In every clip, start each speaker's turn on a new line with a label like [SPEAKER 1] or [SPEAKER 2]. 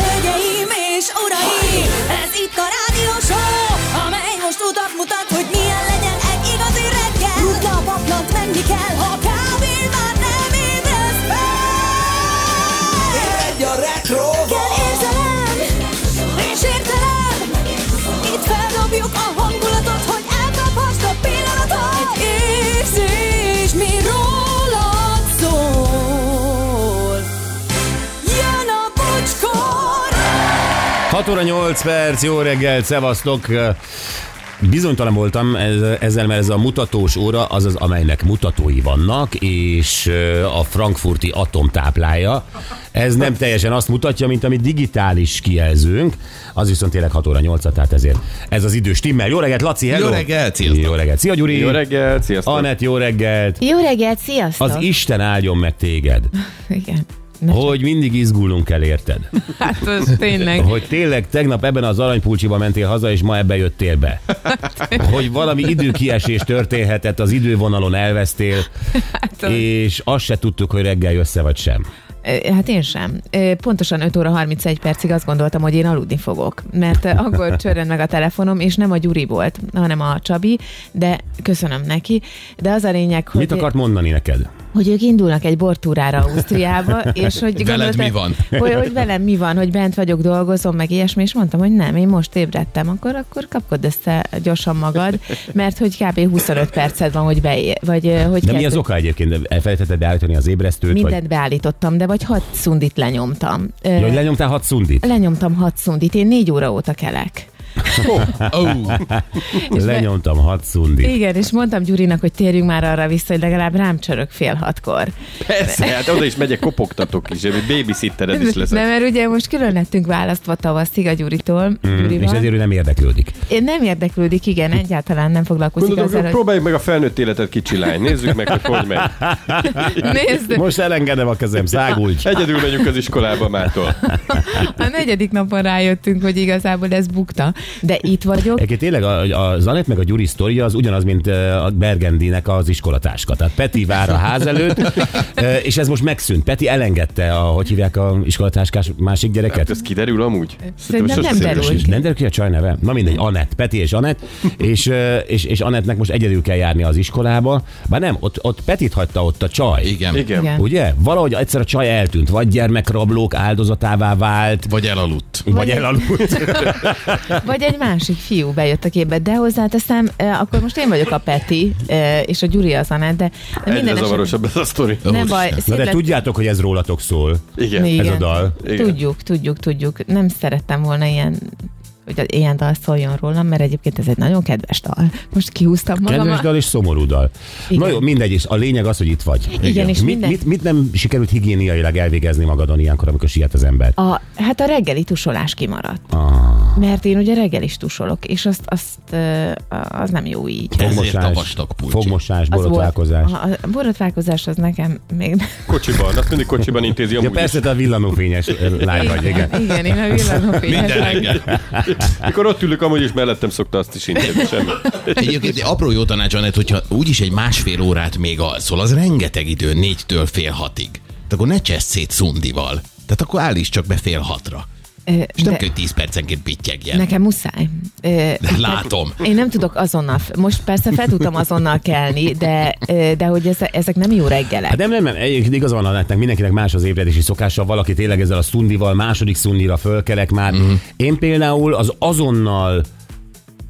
[SPEAKER 1] Hölgyeim és uraim, ez itt a rádió show, amely most utat mutat, hogy milyen legyen egy igazi reggel. Rutna a paplant, menni kell, ha kávé már nem ébresz fel.
[SPEAKER 2] Egy a retro
[SPEAKER 1] Kell érzelem, és értelem, itt feldobjuk a hangulatot, hogy elkaphast a pillanatot. Egy érzés, mi rólad szól. Jön a bocskor!
[SPEAKER 3] 6 óra 8 perc, jó reggel, szevasztok! Bizonytalan voltam ez- ezzel, mert ez a mutatós óra az az, amelynek mutatói vannak, és ö, a frankfurti atom táplája. Ez nem teljesen azt mutatja, mint ami digitális kijelzőnk, az viszont tényleg 6 óra 8 tehát ezért ez az idő stimmel. Jó reggelt, Laci, hello!
[SPEAKER 2] Jó reggelt, sziasztok!
[SPEAKER 3] Jó reggelt, szia Gyuri!
[SPEAKER 4] Jó reggelt, sziasztok!
[SPEAKER 3] Anett, jó reggelt!
[SPEAKER 5] Jó reggelt, sziasztok!
[SPEAKER 3] Az Isten áldjon meg téged,
[SPEAKER 5] Igen. Na,
[SPEAKER 3] hogy mindig izgulnunk kell, érted?
[SPEAKER 5] hát az tényleg.
[SPEAKER 3] Hogy tényleg tegnap ebben az aranypulcsiba mentél haza, és ma ebbe jöttél be. Hogy valami időkiesés történhetett, az idővonalon elvesztél,
[SPEAKER 5] az-
[SPEAKER 3] és azt se tudtuk, hogy reggel jössze vagy sem.
[SPEAKER 5] Ö, Hát én sem. Ö, Pontosan 5 óra 31 percig azt gondoltam, hogy én aludni fogok, mert ö, akkor csörren meg a telefonom, és nem a Gyuri volt, hanem a Csabi, de köszönöm neki. De az a lényeg, hogy,
[SPEAKER 3] Mit akart mondani neked?
[SPEAKER 5] hogy ők indulnak egy bortúrára Ausztriába, és hogy
[SPEAKER 2] Veled mi van?
[SPEAKER 5] Hogy, hogy velem mi van, hogy bent vagyok, dolgozom, meg ilyesmi, és mondtam, hogy nem, én most ébredtem, akkor, akkor kapkod össze gyorsan magad, mert hogy kb. 25 perced van, hogy beér, vagy ö, hogy
[SPEAKER 3] De mi
[SPEAKER 5] kell-
[SPEAKER 3] az oka egyébként? Elfelejtetted beállítani az ébresztőt?
[SPEAKER 5] Mindent beállítottam, de vagy hat szundit lenyomtam. Ö,
[SPEAKER 3] Vagy... Jaj, lenyomtál hat szundit?
[SPEAKER 5] Lenyomtam hat szundit, én négy óra óta kelek.
[SPEAKER 2] Oh,
[SPEAKER 3] Lenyomtam hat szundit.
[SPEAKER 5] Igen, és mondtam Gyurinak, hogy térjünk már arra vissza, hogy legalább rám csörök fél hatkor.
[SPEAKER 4] Persze, hát oda is megyek, kopogtatok is, babysittered is
[SPEAKER 5] Nem,
[SPEAKER 4] leszek.
[SPEAKER 5] mert ugye most külön lettünk választva tavaszig a Gyuritól. Mm,
[SPEAKER 3] Hm, És ezért ő nem érdeklődik.
[SPEAKER 5] Én nem érdeklődik, igen, egyáltalán nem foglalkozik
[SPEAKER 4] Gondolom,
[SPEAKER 5] azzal,
[SPEAKER 4] hogy
[SPEAKER 5] hogy...
[SPEAKER 4] próbáljuk meg a felnőtt életet kicsilány, nézzük meg, hogy hogy megy.
[SPEAKER 5] Nézd,
[SPEAKER 3] Most elengedem a kezem, szágulj!
[SPEAKER 4] Egyedül megyünk az iskolába mától. Hát
[SPEAKER 5] a negyedik napon rájöttünk, hogy igazából ez bukta. De itt vagyok,
[SPEAKER 3] Egyébként tényleg a, a Zanett meg a Gyuri sztoria az ugyanaz, mint ö, a Bergendinek az iskolatáska. Tehát Peti vár a ház előtt, ö, és ez most megszűnt. Peti elengedte, a, hogy hívják a iskolatáskás másik gyereket.
[SPEAKER 4] Hát ez kiderül amúgy?
[SPEAKER 5] Szerintem
[SPEAKER 4] sose
[SPEAKER 5] nem
[SPEAKER 4] derül
[SPEAKER 5] derül.
[SPEAKER 4] ki.
[SPEAKER 3] És nem derül ki a csaj neve? Na mindegy, Anett, Peti és Anett, és, ö, és, és Anettnek most egyedül kell járni az iskolába. Bár nem, ott, ott Petit hagyta ott a csaj.
[SPEAKER 2] igen. igen.
[SPEAKER 4] Igen.
[SPEAKER 5] igen.
[SPEAKER 3] Ugye? Valahogy egyszer a csaj eltűnt, vagy gyermekrablók áldozatává vált,
[SPEAKER 2] Vagy elaludt.
[SPEAKER 3] vagy elaludt.
[SPEAKER 5] Vagy egy másik fiú bejött a képbe, de hozzáteszem, eh, akkor most én vagyok a Peti, eh, és a Gyuri az Anett, de de
[SPEAKER 4] Egyre
[SPEAKER 5] minden esetben...
[SPEAKER 4] zavarosabb ez a sztori.
[SPEAKER 5] Nem baj,
[SPEAKER 3] Na de
[SPEAKER 5] szép lett-
[SPEAKER 3] tudjátok, hogy ez rólatok szól.
[SPEAKER 4] Igen.
[SPEAKER 3] Ez a dal.
[SPEAKER 4] Igen.
[SPEAKER 5] Tudjuk, tudjuk, tudjuk. Nem szerettem volna ilyen hogy ilyen dal szóljon rólam, mert egyébként ez egy nagyon kedves dal. Most kihúztam magam.
[SPEAKER 3] Kedves dal és szomorú dal. Igen.
[SPEAKER 5] Igen.
[SPEAKER 3] Na jó, mindegy, és a lényeg az, hogy itt vagy.
[SPEAKER 5] Igen, és
[SPEAKER 3] mit,
[SPEAKER 5] minden-
[SPEAKER 3] mit, mit nem sikerült higiéniailag elvégezni magadon ilyenkor, amikor siet az ember?
[SPEAKER 5] A, hát a reggeli tusolás kimaradt.
[SPEAKER 3] Ah,
[SPEAKER 5] Mert én ugye reggel is tusolok, és azt, azt ö, az nem jó így.
[SPEAKER 2] Ezért a
[SPEAKER 3] fogmosás,
[SPEAKER 2] vastag pulcsi.
[SPEAKER 3] fogmosás,
[SPEAKER 5] Az
[SPEAKER 3] borotválkozás.
[SPEAKER 5] Volt, a, a borotválkozás az nekem még nem.
[SPEAKER 4] Kocsiban, azt mindig kocsiban intézi amúgy
[SPEAKER 3] Ja,
[SPEAKER 4] is.
[SPEAKER 3] persze, te a villanófényes ö, lány vagy, igen.
[SPEAKER 5] Hát Igen, én a
[SPEAKER 2] Minden
[SPEAKER 5] villanófényes.
[SPEAKER 2] reggel.
[SPEAKER 4] Mikor ott ülök, amúgy is mellettem szokta azt is intézni, semmi.
[SPEAKER 2] Egyébként egy apró jó tanács, Anett, hogyha úgyis egy másfél órát még alszol, az rengeteg idő, négytől fél hatig. Tehát akkor ne csesz szét szundival. Tehát akkor állíts csak be fél hatra.
[SPEAKER 5] Ö,
[SPEAKER 2] És nem
[SPEAKER 5] de
[SPEAKER 2] kell, hogy tíz percenként pittyegjen.
[SPEAKER 5] Nekem muszáj. Ö,
[SPEAKER 2] Látom.
[SPEAKER 5] Én nem tudok azonnal, most persze fel tudtam azonnal kelni, de, ö, de hogy ez, ezek nem jó reggelek.
[SPEAKER 3] Hát nem, nem, nem, egyébként igaza van Anettnek, mindenkinek más az ébredési szokása, valaki tényleg ezzel a szundival, második szundira fölkelek már.
[SPEAKER 2] Mhm.
[SPEAKER 3] Mm. Én például az azonnal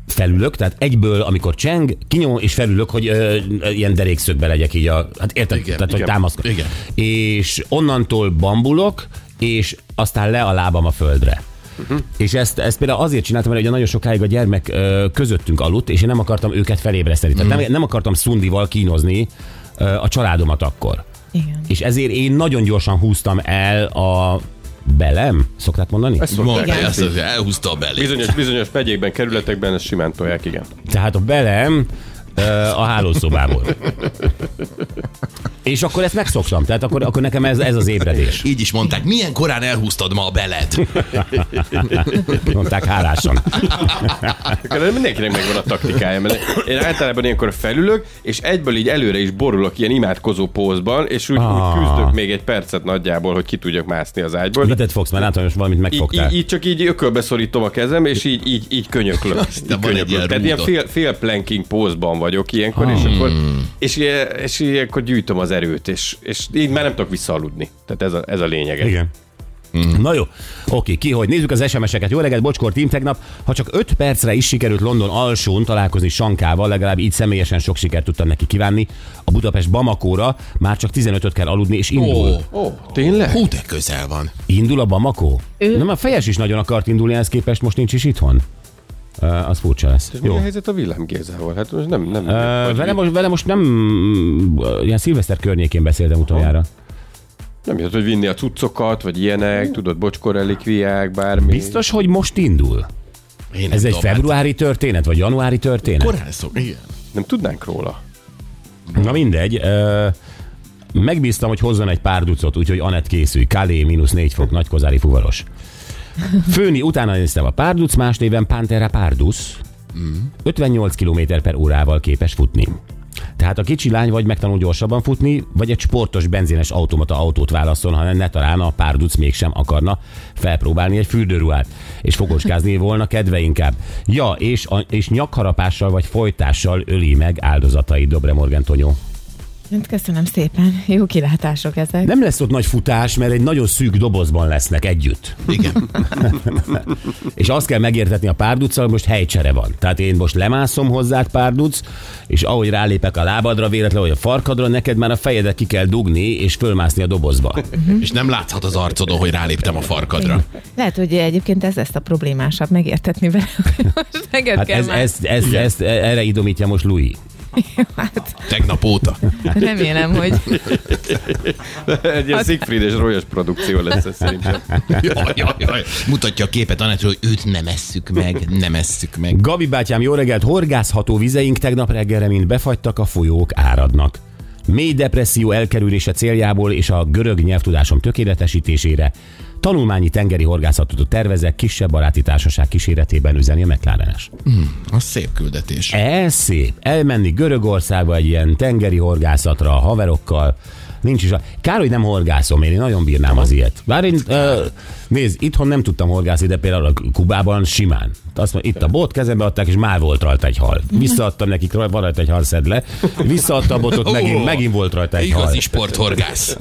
[SPEAKER 3] felülök, tehát egyből, amikor cseng, kinyom és felülök, hogy ö, ö, ilyen derékszögbe legyek így a, hát érted,
[SPEAKER 2] Igen,
[SPEAKER 3] tehát hogy
[SPEAKER 4] igen,
[SPEAKER 3] támaszkodj.
[SPEAKER 2] igen.
[SPEAKER 3] És onnantól bambulok, és aztán le a lábam a földre. Uh-huh. És ezt, ezt például azért csináltam, mert ugye nagyon sokáig a gyermek ö, közöttünk aludt, és én nem akartam őket felébreszteni. Tehát nem, nem akartam szundival kínozni ö, a családomat akkor.
[SPEAKER 5] Igen.
[SPEAKER 3] És ezért én nagyon gyorsan húztam el a belem, szokták mondani?
[SPEAKER 4] Ezt szokták.
[SPEAKER 2] Mondta,
[SPEAKER 5] Igen.
[SPEAKER 2] azt mondja, elhúzta a belét.
[SPEAKER 4] Bizonyos, bizonyos megyékben, kerületekben ezt simán tolják, igen.
[SPEAKER 3] Tehát a belem ö, a hálószobából. És akkor ezt megszoktam, tehát akkor, akkor nekem ez, ez az ébredés.
[SPEAKER 2] Így is mondták, milyen korán elhúztad ma a beled?
[SPEAKER 3] Mondták hálásan.
[SPEAKER 4] Akkor mindenkinek megvan a taktikája, mert én általában ilyenkor felülök, és egyből így előre is borulok ilyen imádkozó pózban, és úgy,
[SPEAKER 3] Ah.
[SPEAKER 4] úgy küzdök még egy percet nagyjából, hogy ki tudjak mászni az ágyból.
[SPEAKER 3] Mit tett fogsz, mert látom, hogy most valamit
[SPEAKER 4] így,
[SPEAKER 3] megfogtál.
[SPEAKER 4] így, így csak így ökölbe szorítom a kezem, és így, így, így könyöklök.
[SPEAKER 2] van egy
[SPEAKER 4] Így könyöklök.
[SPEAKER 2] ilyen
[SPEAKER 4] Tehát ilyen
[SPEAKER 2] rúdot. Hmm.
[SPEAKER 4] fél, fél planking pózban vagyok ilyenkor, és
[SPEAKER 3] Ah.
[SPEAKER 4] akkor, és, ilyen- és ilyenkor gyűjtöm az erőt, és, és így már nem tudok visszaaludni. Tehát ez a, ez a lényege.
[SPEAKER 3] Igen. Mm. Na jó, oké, ki hogy. Nézzük az SMS-eket. Jó reggelt, Bocskor Team tegnap. Ha csak 5 percre is sikerült London alsón találkozni Sankával, legalább így személyesen sok sikert tudtam neki kívánni. A Budapest Bamakóra már csak 15-öt kell aludni, és indul.
[SPEAKER 2] Ó,
[SPEAKER 3] Oh.
[SPEAKER 4] Ó, tényleg?
[SPEAKER 2] hú, de közel van.
[SPEAKER 3] Indul a Bamako?
[SPEAKER 5] Ő-
[SPEAKER 3] Nem, a fejes is nagyon akart indulni, ehhez képest most nincs is itthon. Uh, az furcsa lesz.
[SPEAKER 4] És mi
[SPEAKER 3] Jó.
[SPEAKER 4] a helyzet a Villám Gézával? Hát most nem... nem
[SPEAKER 3] Uh,
[SPEAKER 4] vagy
[SPEAKER 3] vele,
[SPEAKER 4] mi-
[SPEAKER 3] most, vele most nem, ö, ilyen szilveszter környékén beszéltem utoljára.
[SPEAKER 4] Nem jött, hogy vinni a cuccokat, vagy ilyenek, tudod, bocskor relikviák, bármi.
[SPEAKER 3] Biztos, hogy most indul?
[SPEAKER 2] Én
[SPEAKER 3] Ez
[SPEAKER 2] nem
[SPEAKER 3] egy
[SPEAKER 2] tudom, hát
[SPEAKER 3] februári történet, vagy januári történet?
[SPEAKER 2] Korán szok, igen.
[SPEAKER 4] Nem tudnánk róla.
[SPEAKER 3] Na mindegy. Ö, megbíztam, hogy hozzon egy pár ducot, úgyhogy Anett készülj. Kalé mínusz négy fok, nagykozári fuvaros. Főni, utána néztem a párduc, más néven Pantera pardus. 58 km per órával képes futni. Tehát a kicsi lány vagy megtanul gyorsabban futni, vagy egy sportos benzines automata autót válaszol, hanem ne talán a párduc mégsem akarna felpróbálni egy fürdőruhát, és fogoskázni volna kedve inkább. Ja, és, a, és nyakharapással vagy folytással öli meg áldozatai Dobre Morgan Tonyó.
[SPEAKER 5] Hát köszönöm szépen. Jó kilátások ezek.
[SPEAKER 3] Nem lesz ott nagy futás, mert egy nagyon szűk dobozban lesznek együtt.
[SPEAKER 2] Igen.
[SPEAKER 3] És azt kell megértetni a párduccal, hogy most helycsere van. Tehát én most lemászom hozzád párduc, és ahogy rálépek a lábadra, véletlenül vagy a farkadra, neked már a fejedet ki kell dugni, és fölmászni a dobozba.
[SPEAKER 2] És nem látszhat az arcodon, hogy ráléptem a farkadra.
[SPEAKER 5] Lehet, hogy egyébként ez lesz a problémásabb, megértetni vele, hogy most neked
[SPEAKER 3] Hát
[SPEAKER 5] kell
[SPEAKER 3] ez,
[SPEAKER 5] már-
[SPEAKER 3] ez, ez,
[SPEAKER 2] Igen.
[SPEAKER 3] ez, erre idomítja most Louis.
[SPEAKER 5] Hát,
[SPEAKER 2] Tegnap óta.
[SPEAKER 5] remélem, hogy
[SPEAKER 4] Egy ilyen Siegfried és Royas produkció lesz ez szerintem.
[SPEAKER 2] Jaj, jaj, jaj. Mutatja a képet Anetről, hogy őt nem esszük meg, nem esszük meg.
[SPEAKER 3] Gabi bátyám, jó reggelt! Horgászható vizeink tegnap reggelre mind befagytak, a folyók áradnak. Mély depresszió elkerülése céljából és a görög nyelvtudásom tökéletesítésére tanulmányi tengeri horgászatot tervezek kisebb baráti társaság kíséretében üzeni a McLarenes.
[SPEAKER 2] Az szép küldetés.
[SPEAKER 3] Ez Eh, szép. Elmenni Görögországba egy ilyen tengeri horgászatra a haverokkal. Nincs is a... Kár, hogy nem horgászom, én, én nagyon bírnám az ilyet. Bár én, ö, nézd, itthon nem tudtam horgászni, de például a Kubában simán. Azt mondom, itt a bot kezembe adták, és már volt rajta egy hal. Visszaadtam nekik, raj- van rajta egy halszedle. Visszaadtam a botot, megint, megint volt rajta egy hal.
[SPEAKER 2] Igazi sporthorgász.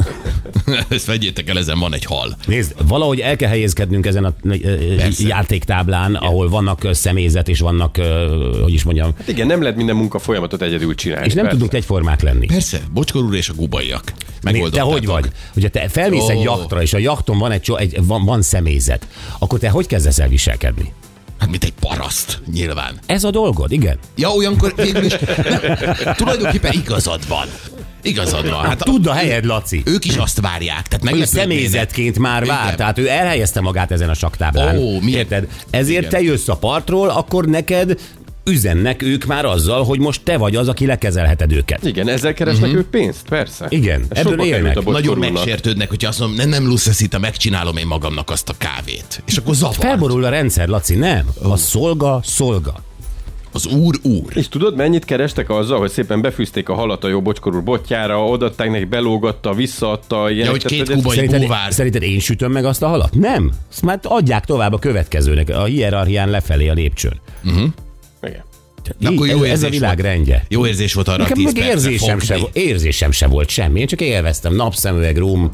[SPEAKER 2] Ezt vegyétek el, ezen van egy hal.
[SPEAKER 3] Nézd, valahogy el kell helyezkednünk ezen a ö, ö, játéktáblán, ahol vannak ö, személyzet, és vannak, ö, hogy is mondjam,
[SPEAKER 4] Igen, nem lehet minden munka folyamatot egyedül csinálni.
[SPEAKER 3] és nem
[SPEAKER 4] persze.
[SPEAKER 3] tudunk egyformák lenni.
[SPEAKER 2] Persze, Bocskor úr és a gubaiak.
[SPEAKER 3] Te
[SPEAKER 2] Megoldottátok.
[SPEAKER 3] hogy vagy? Hogyha te felmész egy
[SPEAKER 2] Ó.
[SPEAKER 3] jachtra, és a jachton van, egy, cso- egy van, van személyzet, akkor te hogy kezdesz el viselkedni?
[SPEAKER 2] Hát mint egy paraszt, nyilván.
[SPEAKER 3] Ez a dolgod, igen.
[SPEAKER 2] Ja, olyankor végül is... Tulajdonképpen igazad van. Igazad van. Hát
[SPEAKER 3] Tudd a helyed, Laci.
[SPEAKER 2] ők is azt várják. Tehát
[SPEAKER 3] Ő
[SPEAKER 2] meglepődnének.
[SPEAKER 3] személyzetként már vár,
[SPEAKER 2] Igen.
[SPEAKER 3] tehát ő elhelyezte magát ezen a saktáblán.
[SPEAKER 2] Ó, milyen-
[SPEAKER 3] Érted? Ezért
[SPEAKER 2] Igen.
[SPEAKER 3] te jössz a partról, akkor neked üzennek ők már azzal, hogy most te vagy az, aki lekezelheted őket.
[SPEAKER 4] Igen, ezzel keresnek ő pénzt, persze.
[SPEAKER 3] Igen,
[SPEAKER 4] Ez
[SPEAKER 3] ebből
[SPEAKER 4] sokba került
[SPEAKER 3] élnek.
[SPEAKER 4] a Bocskor
[SPEAKER 2] Nagyon
[SPEAKER 4] úrnak.
[SPEAKER 2] megsértődnek, hogyha azt mondom, nem, nem Luceszita, megcsinálom én magamnak azt a kávét. És akkor zavar.
[SPEAKER 3] Felborul a rendszer, Laci, nem? A szolga, szolga.
[SPEAKER 2] Az úr úr.
[SPEAKER 4] És tudod, mennyit kerestek azzal, hogy szépen befűzték a halat a jó bocskor úr botjára, odaadták neki, belógatta, visszaadta, ilyen.
[SPEAKER 2] Ja, hogy két
[SPEAKER 4] ez-
[SPEAKER 2] kubai
[SPEAKER 3] Szerinted,
[SPEAKER 2] búvár.
[SPEAKER 3] szerinted én sütöm meg azt a halat? Nem. Ezt már adják tovább a következőnek, a hierarchián lefelé a lépcsőn.
[SPEAKER 4] Igen.
[SPEAKER 2] Na, akkor jó
[SPEAKER 3] ez, ez a
[SPEAKER 2] érzés
[SPEAKER 3] világ
[SPEAKER 2] volt.
[SPEAKER 3] rendje.
[SPEAKER 2] Jó érzés volt arra
[SPEAKER 3] Nekem
[SPEAKER 2] a 10
[SPEAKER 3] meg
[SPEAKER 2] percre
[SPEAKER 3] érzésem
[SPEAKER 2] fogni.
[SPEAKER 3] se, vo- érzésem se volt semmi, én csak élveztem. Napszemüveg, rum.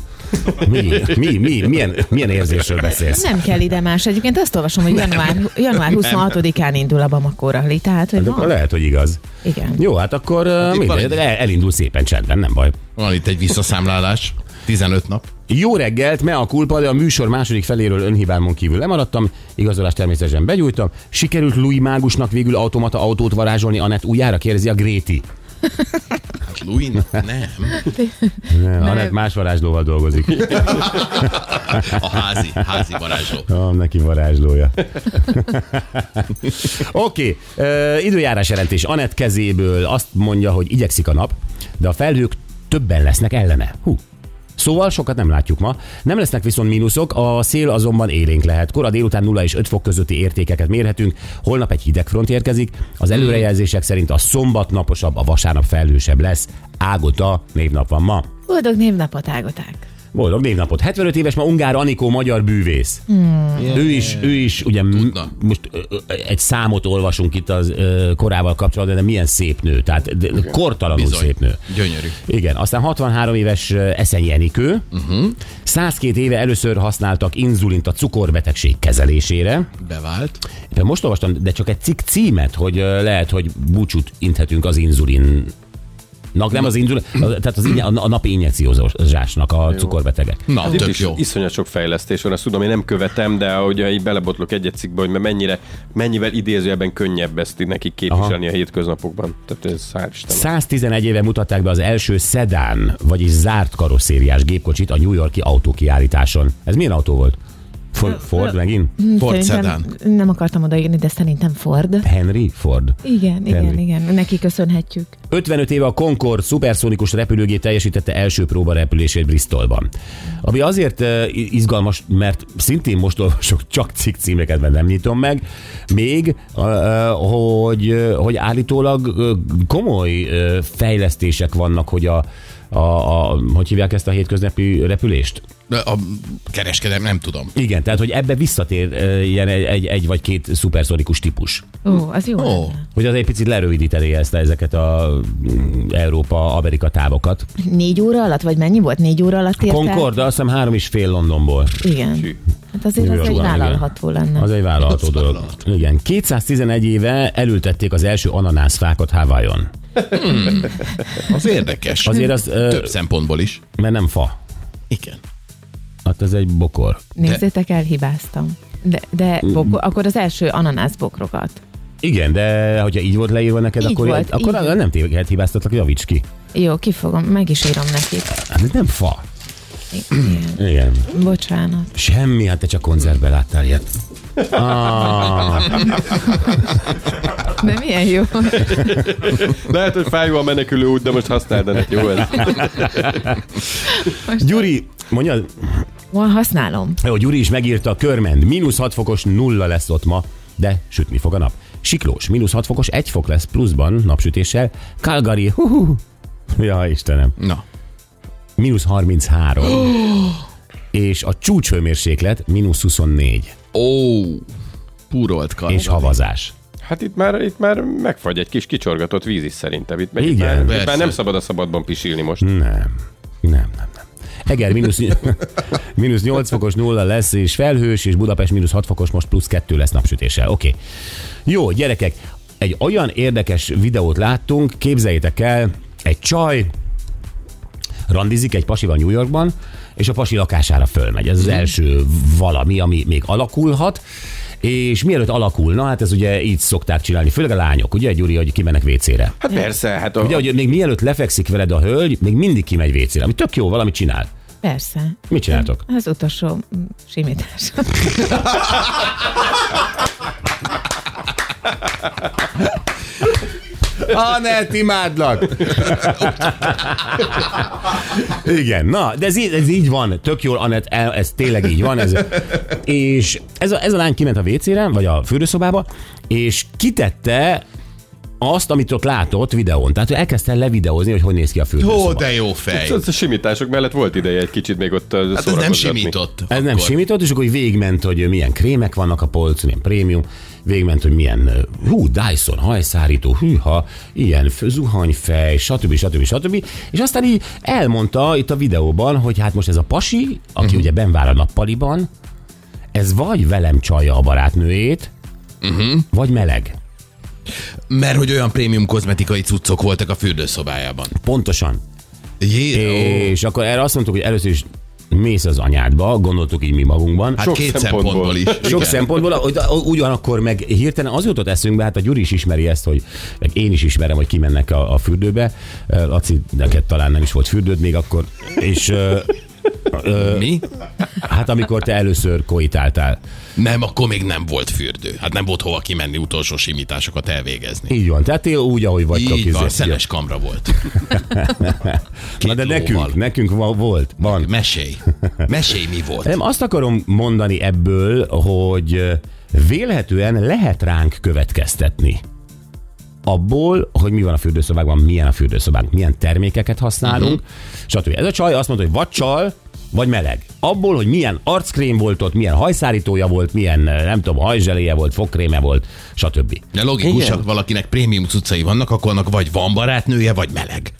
[SPEAKER 3] Mi, mi, mi, milyen, milyen érzésről beszélsz?
[SPEAKER 5] nem kell ide más. Egyébként azt olvasom, hogy január, január 26-án indul a Bamakóra, Li, tehát, hogy
[SPEAKER 3] Hát akkor
[SPEAKER 5] van.
[SPEAKER 3] lehet, hogy igaz.
[SPEAKER 5] Igen.
[SPEAKER 3] Jó, hát akkor hát
[SPEAKER 2] itt
[SPEAKER 3] mindegy,
[SPEAKER 2] van egy-
[SPEAKER 3] el- elindul szépen csendben, nem baj.
[SPEAKER 2] Van itt egy visszaszámlálás. 15 nap.
[SPEAKER 3] Jó reggelt, me a kulpa, de a műsor második feléről önhibámon kívül lemaradtam, igazolást természetesen begyújtam. Sikerült Louis Mágusnak végül automata autót varázsolni, Anett újjára kérdezi a Gréti.
[SPEAKER 2] Luin? Hát Nem.
[SPEAKER 3] Anett más varázslóval dolgozik.
[SPEAKER 2] A házi, házi varázsló.
[SPEAKER 3] Van neki varázslója. Oké, okay. időjárás jelentés. Anett kezéből azt mondja, hogy igyekszik a nap, de a felhők többen lesznek ellene. Hú. Szóval sokat nem látjuk ma. Nem lesznek viszont mínuszok, a szél azonban élénk lehet. Kora délután 0 és 5 fok közötti értékeket mérhetünk. Holnap egy hideg front érkezik. Az előrejelzések szerint a szombat naposabb, a vasárnap felhősebb lesz. Ágota névnap van ma.
[SPEAKER 5] Boldog névnapot ágoták.
[SPEAKER 3] Boldog névnapot. 75 éves ma Ungár Anikó magyar bűvész. Hmm. Ő is, ő is, ugye m-
[SPEAKER 2] Tudna.
[SPEAKER 3] most ö, ö, egy számot olvasunk itt az ö, korával kapcsolatban, de milyen szép nő, tehát de, de kortalanul
[SPEAKER 2] Bizony.
[SPEAKER 3] szép nő.
[SPEAKER 2] Gyönyörű.
[SPEAKER 3] Igen, aztán 63 éves ö, Eszenyi Enikő.
[SPEAKER 2] Mhm.
[SPEAKER 3] Uh-huh. 102 éve először használtak inzulint a cukorbetegség kezelésére.
[SPEAKER 2] Bevált.
[SPEAKER 3] Éppen most olvastam, de csak egy cikk címet, hogy ö, lehet, hogy búcsút inthetünk az inzulin nem az inzulin, tehát az inje, a napi injekciózásnak a cukorbetegek.
[SPEAKER 2] Na,
[SPEAKER 4] Hát
[SPEAKER 2] hát
[SPEAKER 4] itt
[SPEAKER 2] tök
[SPEAKER 4] is
[SPEAKER 2] jó.
[SPEAKER 4] iszonyat sok fejlesztés van, azt tudom, én nem követem, de hogy így belebotlok egy cikkbe, hogy mennyire, mennyivel idézőjelben könnyebb ezt így nekik képviselni Aha. a hétköznapokban. Tehát ez hál' Istennek.
[SPEAKER 3] 111 éve mutatták be az első szedán, vagyis zárt karosszériás gépkocsit a New Yorki autókiállításon. Ez milyen autó volt? Ford, Ford megint?
[SPEAKER 2] Ford
[SPEAKER 5] Szerintem nem akartam odaírni, de szerintem Ford.
[SPEAKER 3] Henry Ford.
[SPEAKER 5] Igen, igen,
[SPEAKER 3] Henry.
[SPEAKER 5] igen. Neki köszönhetjük.
[SPEAKER 3] 55 éve a Concorde szuperszónikus repülőgép teljesítette első próba repülését Bristolban. Ami azért eh, izgalmas, mert szintén most olvasok csak cikk címeket, mert nem nyitom meg, még, eh, eh, hogy, eh, hogy állítólag eh, komoly eh, fejlesztések vannak, hogy a, a, a hogy hívják ezt a hétköznapi repülést?
[SPEAKER 2] A kereskedem, nem tudom.
[SPEAKER 3] Igen, tehát hogy ebbe visszatér eh, ilyen egy, egy, egy vagy két szuperszonikus típus.
[SPEAKER 5] Ó, az jó.
[SPEAKER 2] Ó.
[SPEAKER 5] lenne.
[SPEAKER 3] Hogy az egy picit lerövidítené ezt ezeket a mm, Európa-Amerika távokat.
[SPEAKER 5] Négy óra alatt, vagy mennyi volt? Négy óra alatt érte?
[SPEAKER 3] Concord, azt hiszem három és fél Londonból.
[SPEAKER 5] Igen. Hát azért
[SPEAKER 3] New
[SPEAKER 5] az egy
[SPEAKER 3] Yorkban, igen.
[SPEAKER 5] vállalható lenne.
[SPEAKER 3] Az egy vállalható
[SPEAKER 2] Az
[SPEAKER 3] dolog.
[SPEAKER 2] vállalható.
[SPEAKER 3] Igen. 211 éve elültették az első ananászfákat Hawaiion.
[SPEAKER 2] Az érdekes.
[SPEAKER 5] Hm.
[SPEAKER 3] Azért az, ö,
[SPEAKER 2] Több szempontból is.
[SPEAKER 3] mert nem fa.
[SPEAKER 2] Igen.
[SPEAKER 3] Hát ez egy bokor.
[SPEAKER 5] Nézzétek el, hibáztam. De, de
[SPEAKER 3] Hm.
[SPEAKER 5] boko, akkor az első ananászbokrokat.
[SPEAKER 3] Igen, de hogyha így volt leírva neked,
[SPEAKER 5] Így
[SPEAKER 3] akkor,
[SPEAKER 5] volt,
[SPEAKER 3] akkor
[SPEAKER 5] így.
[SPEAKER 3] nem téved hibáztatlak, javíts ki.
[SPEAKER 5] Jó, kifogom, meg is írom nekik.
[SPEAKER 3] Hát ez nem fa.
[SPEAKER 5] Igen.
[SPEAKER 3] Igen.
[SPEAKER 5] Bocsánat.
[SPEAKER 3] Semmi, hát te csak konzervbe láttál ilyet.
[SPEAKER 5] De milyen jó.
[SPEAKER 4] Lehet, hogy fájó a menekülő út, de most használd de jó ez.
[SPEAKER 3] Gyuri, mondja,
[SPEAKER 5] Van, használom.
[SPEAKER 3] Jó, Gyuri is megírta a körmend. Mínusz 6 fokos nulla lesz ott ma, de sütni fog a nap. Siklós, mínusz 6 fokos, 1 fok lesz pluszban napsütéssel. Calgary, hú Ja, Istenem.
[SPEAKER 2] Na.
[SPEAKER 3] Mínusz 33. és a csúcshőmérséklet mínusz 24.
[SPEAKER 2] Ó, púrolt kar.
[SPEAKER 3] És havazás.
[SPEAKER 4] Hát itt már, itt már megfagy egy kis kicsorgatott víz is szerintem. Itt, meg,
[SPEAKER 3] Igen,
[SPEAKER 4] itt, már, itt
[SPEAKER 2] persze. Hmm.
[SPEAKER 4] már, nem szabad a szabadban pisilni most.
[SPEAKER 3] Nem, nem, nem, nem. Eger mínusz, mínusz 8 fokos nulla lesz, és felhős, és Budapest mínusz 6 fokos, most plusz 2 lesz napsütéssel. Oké. Okay. Jó, gyerekek, egy olyan érdekes videót láttunk, képzeljétek el, egy csaj randizik egy pasival New Yorkban, és a pasi lakására fölmegy. Ez az első valami, ami még alakulhat, és mielőtt alakulna, hát ez ugye így szokták csinálni, főleg a lányok, ugye Gyuri, hogy kimennek WC-re.
[SPEAKER 4] Hát persze, hát a,
[SPEAKER 3] Ugye, hogy még mielőtt lefekszik veled a hölgy, még mindig kimegy vécére, ami tök jó, valamit csinál.
[SPEAKER 5] Persze.
[SPEAKER 3] Mit csináltok?
[SPEAKER 5] Az utolsó mm, simítás.
[SPEAKER 3] Anett, imádlak! Igen, na, de ez, í- ez így van, tök jól, Anett, el- ez tényleg így van. Ez, és ez a, ez a lány kiment a vécére, vagy a fürdőszobába, és kitette azt, amit ott látott videón. Tehát ő elkezdte levideózni, hogy hogy néz ki a fürdőszoba.
[SPEAKER 2] Ó, de jó fej.
[SPEAKER 4] Szóval a simítások mellett volt ideje egy kicsit még ott eh,
[SPEAKER 2] Hát ez nem simított.
[SPEAKER 3] Ez nem simított, és akkor így végigment, hogy milyen krémek vannak a polcon, milyen prémium, végigment, hogy milyen ö, hú, Dyson hajszárító, hűha, ilyen f- zuhanyfej, stb. stb. stb. És aztán így elmondta itt a videóban, hogy hát most ez a pasi, aki
[SPEAKER 2] Mhm.
[SPEAKER 3] uh-huh. ugye benn vár a nappaliban, ez vagy velem csalja a barátnőjét,
[SPEAKER 2] Mhm.
[SPEAKER 3] uh-huh. vagy meleg.
[SPEAKER 2] Mert hogy olyan prémium kozmetikai cuccok voltak a fürdőszobájában.
[SPEAKER 3] Pontosan.
[SPEAKER 2] Jé, ó.
[SPEAKER 3] És akkor erre azt mondtuk, hogy először is mész az anyádba, gondoltuk így mi magunkban.
[SPEAKER 2] Hát
[SPEAKER 4] Sok
[SPEAKER 2] két
[SPEAKER 4] szempontból.
[SPEAKER 2] szempontból is.
[SPEAKER 3] Sok
[SPEAKER 2] Igen.
[SPEAKER 3] szempontból, hogy ugyanakkor meg hirtelen az jutott eszünkbe, hát a Gyuri is ismeri ezt, hogy meg én is ismerem, hogy kimennek a, a fürdőbe. Ö, Laci, neked talán nem is volt fürdőd még akkor, és ö,
[SPEAKER 2] Mi?
[SPEAKER 3] hát amikor te először koitáltál.
[SPEAKER 2] Nem, akkor még nem volt fürdő. Hát nem volt hova kimenni utolsó simításokat elvégezni.
[SPEAKER 3] Így van, tehát ti úgy, ahogy vagytok.
[SPEAKER 2] Így
[SPEAKER 3] izé-
[SPEAKER 2] van, szenes kamra volt.
[SPEAKER 3] Na de
[SPEAKER 2] Két lóval.
[SPEAKER 3] nekünk, nekünk va- volt, van. E-
[SPEAKER 2] Mesélj. Mesélj, mi volt.
[SPEAKER 3] Nem, azt akarom mondani ebből, hogy ö, vélhetően lehet ránk következtetni. Abból, hogy mi van a fürdőszobákban, milyen a fürdőszobánk, milyen termékeket használunk, stb. Ez a csaj azt mondta, hogy vagy csal, vagy meleg. Abból, hogy milyen arckrém volt ott, milyen hajszárítója volt, milyen, ö, nem tudom, hajzseléje volt, fogkréme volt, stb.
[SPEAKER 2] De logikus,
[SPEAKER 4] Igen.
[SPEAKER 2] ha valakinek prémium cuccai vannak, akkor annak vagy van barátnője, vagy meleg.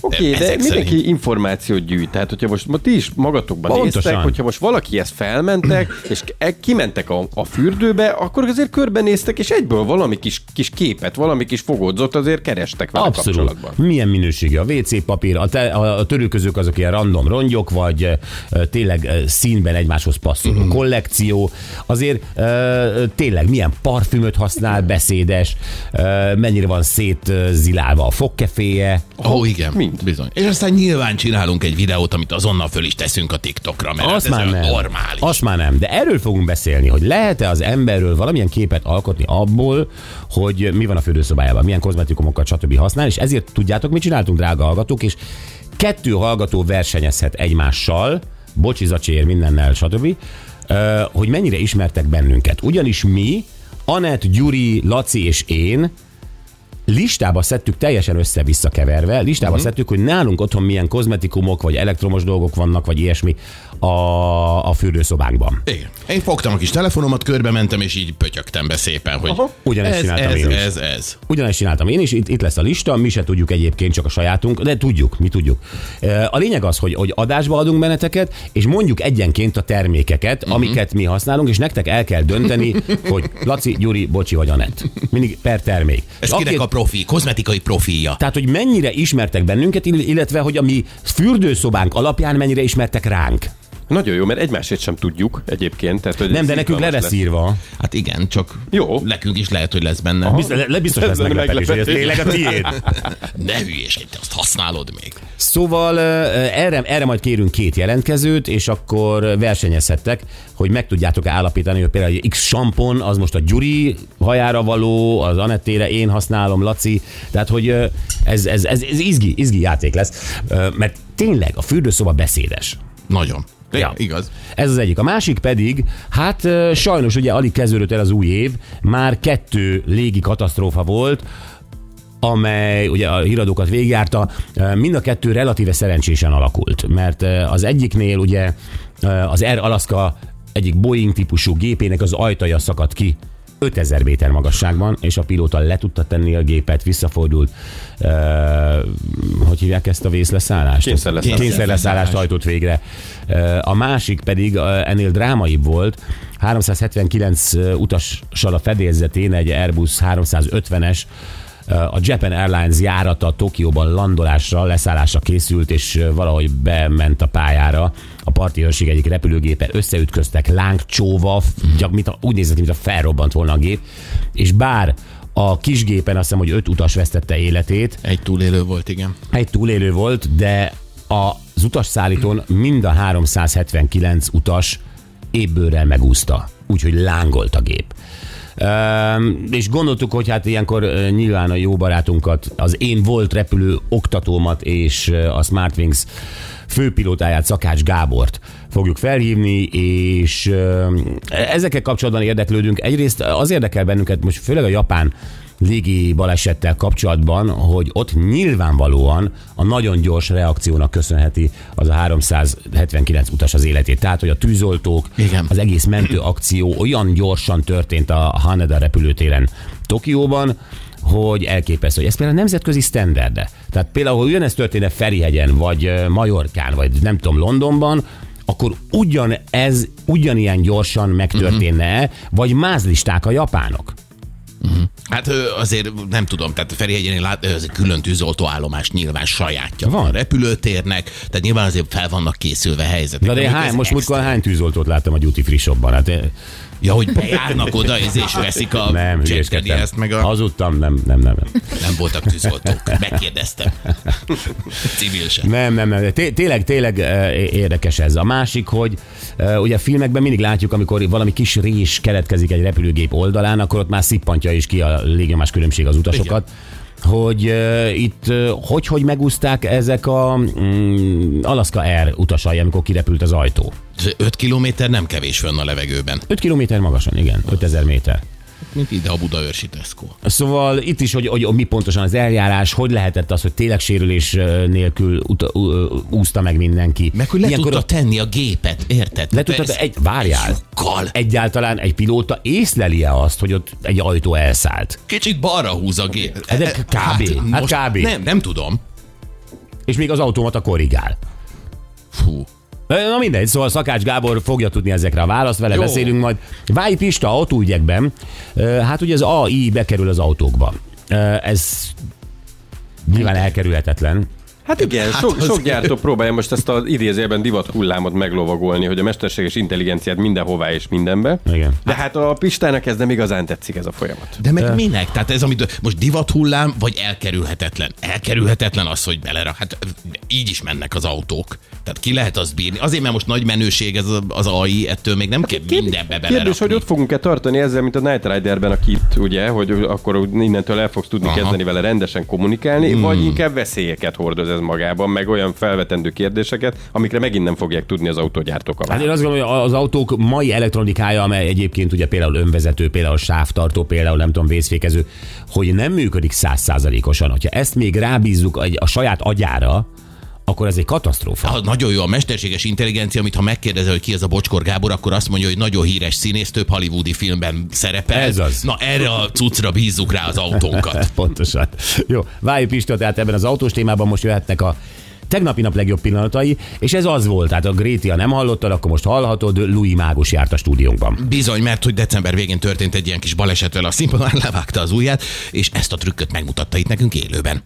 [SPEAKER 4] Oké, okay, de
[SPEAKER 2] Ezek
[SPEAKER 4] mindenki
[SPEAKER 2] szerint.
[SPEAKER 4] szerint. információt gyűjt. Tehát, hogyha most ma ti is magatokban
[SPEAKER 3] Pontosan.
[SPEAKER 4] néztek, hogyha most valaki ezt felmentek, és e- kimentek a, a fürdőbe, akkor azért körbenéztek, és egyből valami kis, kis képet, valami kis fogódzot azért kerestek vele
[SPEAKER 3] Abszolút.
[SPEAKER 4] kapcsolatban.
[SPEAKER 3] Milyen minőségű a WC papír, a, te, a, a törülközők azok ilyen random rongyok, vagy ö, ö, tényleg ö, színben egymáshoz passzoló
[SPEAKER 4] Mhm.
[SPEAKER 3] mm. kollekció. Azért ö, ö, tényleg milyen parfümöt használ, beszédes, ö, mennyire van szétzilálva a fogkeféje.
[SPEAKER 2] Ó, oh, igen.
[SPEAKER 4] mind.
[SPEAKER 2] Bizony. És aztán nyilván csinálunk egy videót, amit azonnal föl is teszünk a TikTokra, mert
[SPEAKER 3] Azt
[SPEAKER 2] hát ez
[SPEAKER 3] már
[SPEAKER 2] olyan
[SPEAKER 3] nem.
[SPEAKER 2] normális.
[SPEAKER 3] Azt már nem. De erről fogunk beszélni, hogy lehet-e az emberről valamilyen képet alkotni abból, hogy mi van a fürdőszobájában, milyen kozmetikumokat, stb. használ, és ezért tudjátok, mit csináltunk, drága hallgatók, és kettő hallgató versenyezhet egymással, bocsi, zacsér, mindennel, stb., ö, hogy mennyire ismertek bennünket. Ugyanis mi, Anett, Gyuri, Laci és én listába szedtük, teljesen össze-vissza keverve,
[SPEAKER 2] Mhm.
[SPEAKER 3] listába uh-huh. szedtük, hogy nálunk otthon milyen kozmetikumok, vagy elektromos dolgok vannak, vagy ilyesmi a, a fürdőszobánkban.
[SPEAKER 2] Igen. Én fogtam a kis telefonomat, körbe mentem, és így pötyögtem be szépen, hogy Aha.
[SPEAKER 3] Ugyanezt
[SPEAKER 2] ez,
[SPEAKER 3] csináltam
[SPEAKER 2] ez,
[SPEAKER 3] én is.
[SPEAKER 2] ez, ez.
[SPEAKER 3] Ugyanezt csináltam én is, itt, itt lesz a lista, mi se tudjuk egyébként, csak a sajátunk, de tudjuk, mi tudjuk. E, A lényeg az, hogy, hogy adásba adunk benneteket, és mondjuk egyenként a termékeket,
[SPEAKER 2] Mhm.
[SPEAKER 3] uh-huh. amiket mi használunk, és nektek el kell dönteni, hogy Laci, Gyuri, Bocsi vagy Anett. Mindig per termék.
[SPEAKER 2] Ez
[SPEAKER 3] És
[SPEAKER 2] kinek
[SPEAKER 3] akit-
[SPEAKER 2] a profi, kozmetikai profilja.
[SPEAKER 3] Tehát, hogy mennyire ismertek bennünket, ill- illetve, hogy a mi fürdőszobánk alapján mennyire ismertek ránk.
[SPEAKER 4] Nagyon jó, mert egymásét sem tudjuk egyébként. Tehát, hogy
[SPEAKER 3] Nem,
[SPEAKER 4] ez
[SPEAKER 3] de nekünk le
[SPEAKER 4] izgalmas
[SPEAKER 3] lesz írva.
[SPEAKER 2] Hát igen, csak
[SPEAKER 4] Jó.
[SPEAKER 2] nekünk is lehet, hogy lesz benne.
[SPEAKER 3] Biztos, le, le- biztos
[SPEAKER 4] Ez
[SPEAKER 3] lesz
[SPEAKER 4] lenne
[SPEAKER 3] meglepetés, hogy ez
[SPEAKER 4] meglepetés.
[SPEAKER 3] tényleg a tiéd.
[SPEAKER 2] Ne hülyéskedj, te azt használod még.
[SPEAKER 3] Szóval ö, erre, erre majd kérünk két jelentkezőt, és akkor versenyezhettek, hogy meg tudjátok-e állapítani, hogy például egy X sampon, az most a Gyuri hajára való, az Anettére én használom, Laci, tehát hogy ö, ez, ez, ez, ez izgi, izgi játék lesz, Ö, mert tényleg a fürdőszoba beszédes.
[SPEAKER 2] Nagyon.
[SPEAKER 3] Ja.
[SPEAKER 2] Ja. Igaz.
[SPEAKER 3] Ez az egyik. A másik pedig, hát ö, sajnos ugye alig kezdődött el az új év, már kettő légi katasztrófa volt, amely ugye a híradókat végigjárta, ö, mind a kettő relatíve szerencsésen alakult, mert ö, az egyiknél ugye ö, az Air Alaska egyik Boeing típusú gépének az ajtaja szakadt ki 5000 méter magasságban, és a pilóta le tudta tenni a gépet, visszafordult, ö, hogy hívják ezt a vészleszállást?
[SPEAKER 4] Kényszerleszállást.
[SPEAKER 3] Kényszerleszállást hajtott végre. Ö, A másik pedig ö, ennél drámaibb volt, 379 utassal a fedélzetén egy Airbus 350-es ö, a Japan Airlines járata Tokióban landolásra, leszállásra készült, és ö, valahogy bement a pályára. A parti őrség egyik repülőgépe összeütköztek lángcsóva, gyak, mint a, úgy nézett ki, mint a felrobbant volna a gép, és bár a kisgépen azt hiszem, hogy öt utas vesztette életét,
[SPEAKER 2] Egy túlélő volt, igen.
[SPEAKER 3] egy túlélő volt, de az utasszállítón mind a 379 utas ébbőrrel megúszta, úgyhogy lángolt a gép. Üm, és gondoltuk, hogy hát ilyenkor ö, nyilván a jó barátunkat, az én volt repülő oktatómat és ö, a Smartwings főpilótáját, Szakács Gábort fogjuk felhívni, és ö, ezekkel kapcsolatban érdeklődünk. Egyrészt az érdekel bennünket most főleg a japán légi balesettel kapcsolatban, hogy ott nyilvánvalóan a nagyon gyors reakciónak köszönheti az a 379 utas az életét. Tehát, hogy a tűzoltók,
[SPEAKER 2] Igen.
[SPEAKER 3] az egész mentő akció olyan gyorsan történt a Haneda repülőtéren Tokióban, hogy elképesztő. Ez például nemzetközi standard. Tehát például, ha ugyanezt történne Ferihegyen, vagy ö, Majorkán, vagy nem tudom, Londonban, akkor ugyanez
[SPEAKER 2] Mhm.
[SPEAKER 3] ugyanilyen gyorsan megtörténne, uh-huh. vagy más listák a japánok.
[SPEAKER 2] Hát ö, azért nem tudom, tehát Ferihegyen lát, ö, ez egy külön tűzoltóállomás nyilván sajátja van.
[SPEAKER 3] Van.
[SPEAKER 2] a repülőtérnek, tehát nyilván azért fel vannak készülve helyzetek.
[SPEAKER 3] Na de én
[SPEAKER 2] Amik
[SPEAKER 3] hány,
[SPEAKER 2] ez
[SPEAKER 3] most
[SPEAKER 2] extra.
[SPEAKER 3] múltkor hány tűzoltót láttam a Duty Free Shopban? Hát, eh,
[SPEAKER 2] Ja, hogy bejárnak oda, és- és veszik a
[SPEAKER 3] nem,
[SPEAKER 2] Jack
[SPEAKER 3] hülyéskedtem.
[SPEAKER 2] Daniels-t, meg a...
[SPEAKER 3] Hazudtam, nem, nem, nem. nem.
[SPEAKER 2] Nem voltak tűzoltók. Megkérdeztem. Civil sem.
[SPEAKER 3] Nem, nem, nem. Té- Tényleg, tényleg eh, érdekes ez. A másik, hogy eh, ugye a filmekben mindig látjuk, amikor valami kis rés keletkezik egy repülőgép oldalán, akkor ott már szippantja is ki a légnyomás különbség az utasokat. Hogy uh, itt eh, hogy, hogy megúzták ezek a mm, Alaska Air utasai, amikor kirepült az ajtó?
[SPEAKER 2] 5 kilométer nem kevés fönn a levegőben,
[SPEAKER 3] 5 km magasan, igen, 5000 méter.
[SPEAKER 2] mint ide a Budaörsi Tesco.
[SPEAKER 3] Szóval itt is, hogy, hogy mi pontosan az eljárás, hogy lehetett az, hogy tényleg sérülés eh, nélkül ut- ú- úszta meg mindenki.
[SPEAKER 2] Meg hogy le
[SPEAKER 3] Ilyenkor
[SPEAKER 2] tudta tenni a gépet, érted?
[SPEAKER 3] Le tudtad, egy, várjál,
[SPEAKER 2] Kal.
[SPEAKER 3] egyáltalán egy pilóta észlelie azt, hogy ott egy ajtó elszállt.
[SPEAKER 2] Kicsit balra húz a gép.
[SPEAKER 3] Hát de kb. Hát kb.
[SPEAKER 2] Nem, nem tudom.
[SPEAKER 3] És még az automata korrigál.
[SPEAKER 2] Fú.
[SPEAKER 3] Na na mindegy, szóval Szakács Gábor fogja tudni ezekre a választ, vele
[SPEAKER 2] Jó.
[SPEAKER 3] Jó. beszélünk majd. Váj Pista autóügyekben, ö, hát ugye az AI bekerül az autókba. Ö, Ez nyilván elkerülhetetlen.
[SPEAKER 4] Hát igen,
[SPEAKER 2] hát
[SPEAKER 4] hát sok,
[SPEAKER 2] az-
[SPEAKER 4] sok gyártó próbálja most ezt az idézőjelben divat hullámot meglovagolni, hogy a mesterséges intelligenciát mindenhová és mindenbe.
[SPEAKER 3] Igen.
[SPEAKER 4] De hát a Pistának ez nem igazán tetszik ez a folyamat.
[SPEAKER 2] De meg de. minek? Tehát ez, amit most divat hullám, vagy elkerülhetetlen? Elkerülhetetlen az, hogy belerak. Hát így is mennek az autók. Tehát ki lehet azt bírni? Azért, mert most nagy menőség ez a- az AI, ettől még
[SPEAKER 3] Hát
[SPEAKER 2] nem kell mindenbe belerakni.
[SPEAKER 4] Kérdés, hogy ott fogunk-e tartani ezzel, mint a Night Riderben a kit, ugye, hogy akkor innentől el fogsz tudni
[SPEAKER 2] Aha.
[SPEAKER 4] Aha. kezdeni vele rendesen kommunikálni, hmm. vagy inkább veszélyeket hordoz ez magában, meg olyan felvetendő kérdéseket, amikre megint nem fogják tudni az autógyártók a
[SPEAKER 3] Hát én
[SPEAKER 4] választ.
[SPEAKER 3] azt gondolom, hogy az autók mai elektronikája, amely egyébként ugye például önvezető, például sávtartó, például nem tudom, vészfékező, hogy nem működik százszázalékosan. Ha ezt még rábízzuk egy- a saját agyára, akkor ez egy katasztrófa.
[SPEAKER 2] Ah, nagyon jó a mesterséges intelligencia, amit ha megkérdezel, hogy ki ez a Bocskor Gábor, akkor azt mondja, hogy nagyon híres színész, több hollywoodi filmben szerepel.
[SPEAKER 3] Ez az.
[SPEAKER 2] Na erre a cuccra bízzuk rá az autónkat.
[SPEAKER 3] Pontosan. Jó, várjuk Pista, tehát ebben az autós témában most jöhetnek a tegnapi nap legjobb pillanatai, és ez az volt. Tehát a Gréti, ha nem hallottad, akkor most hallhatod, Louis Mágus járt a stúdiónkban.
[SPEAKER 2] Bizony, mert hogy december végén történt egy ilyen kis balesetvel, a színpadon levágta az ujját, és ezt a trükköt megmutatta itt nekünk élőben.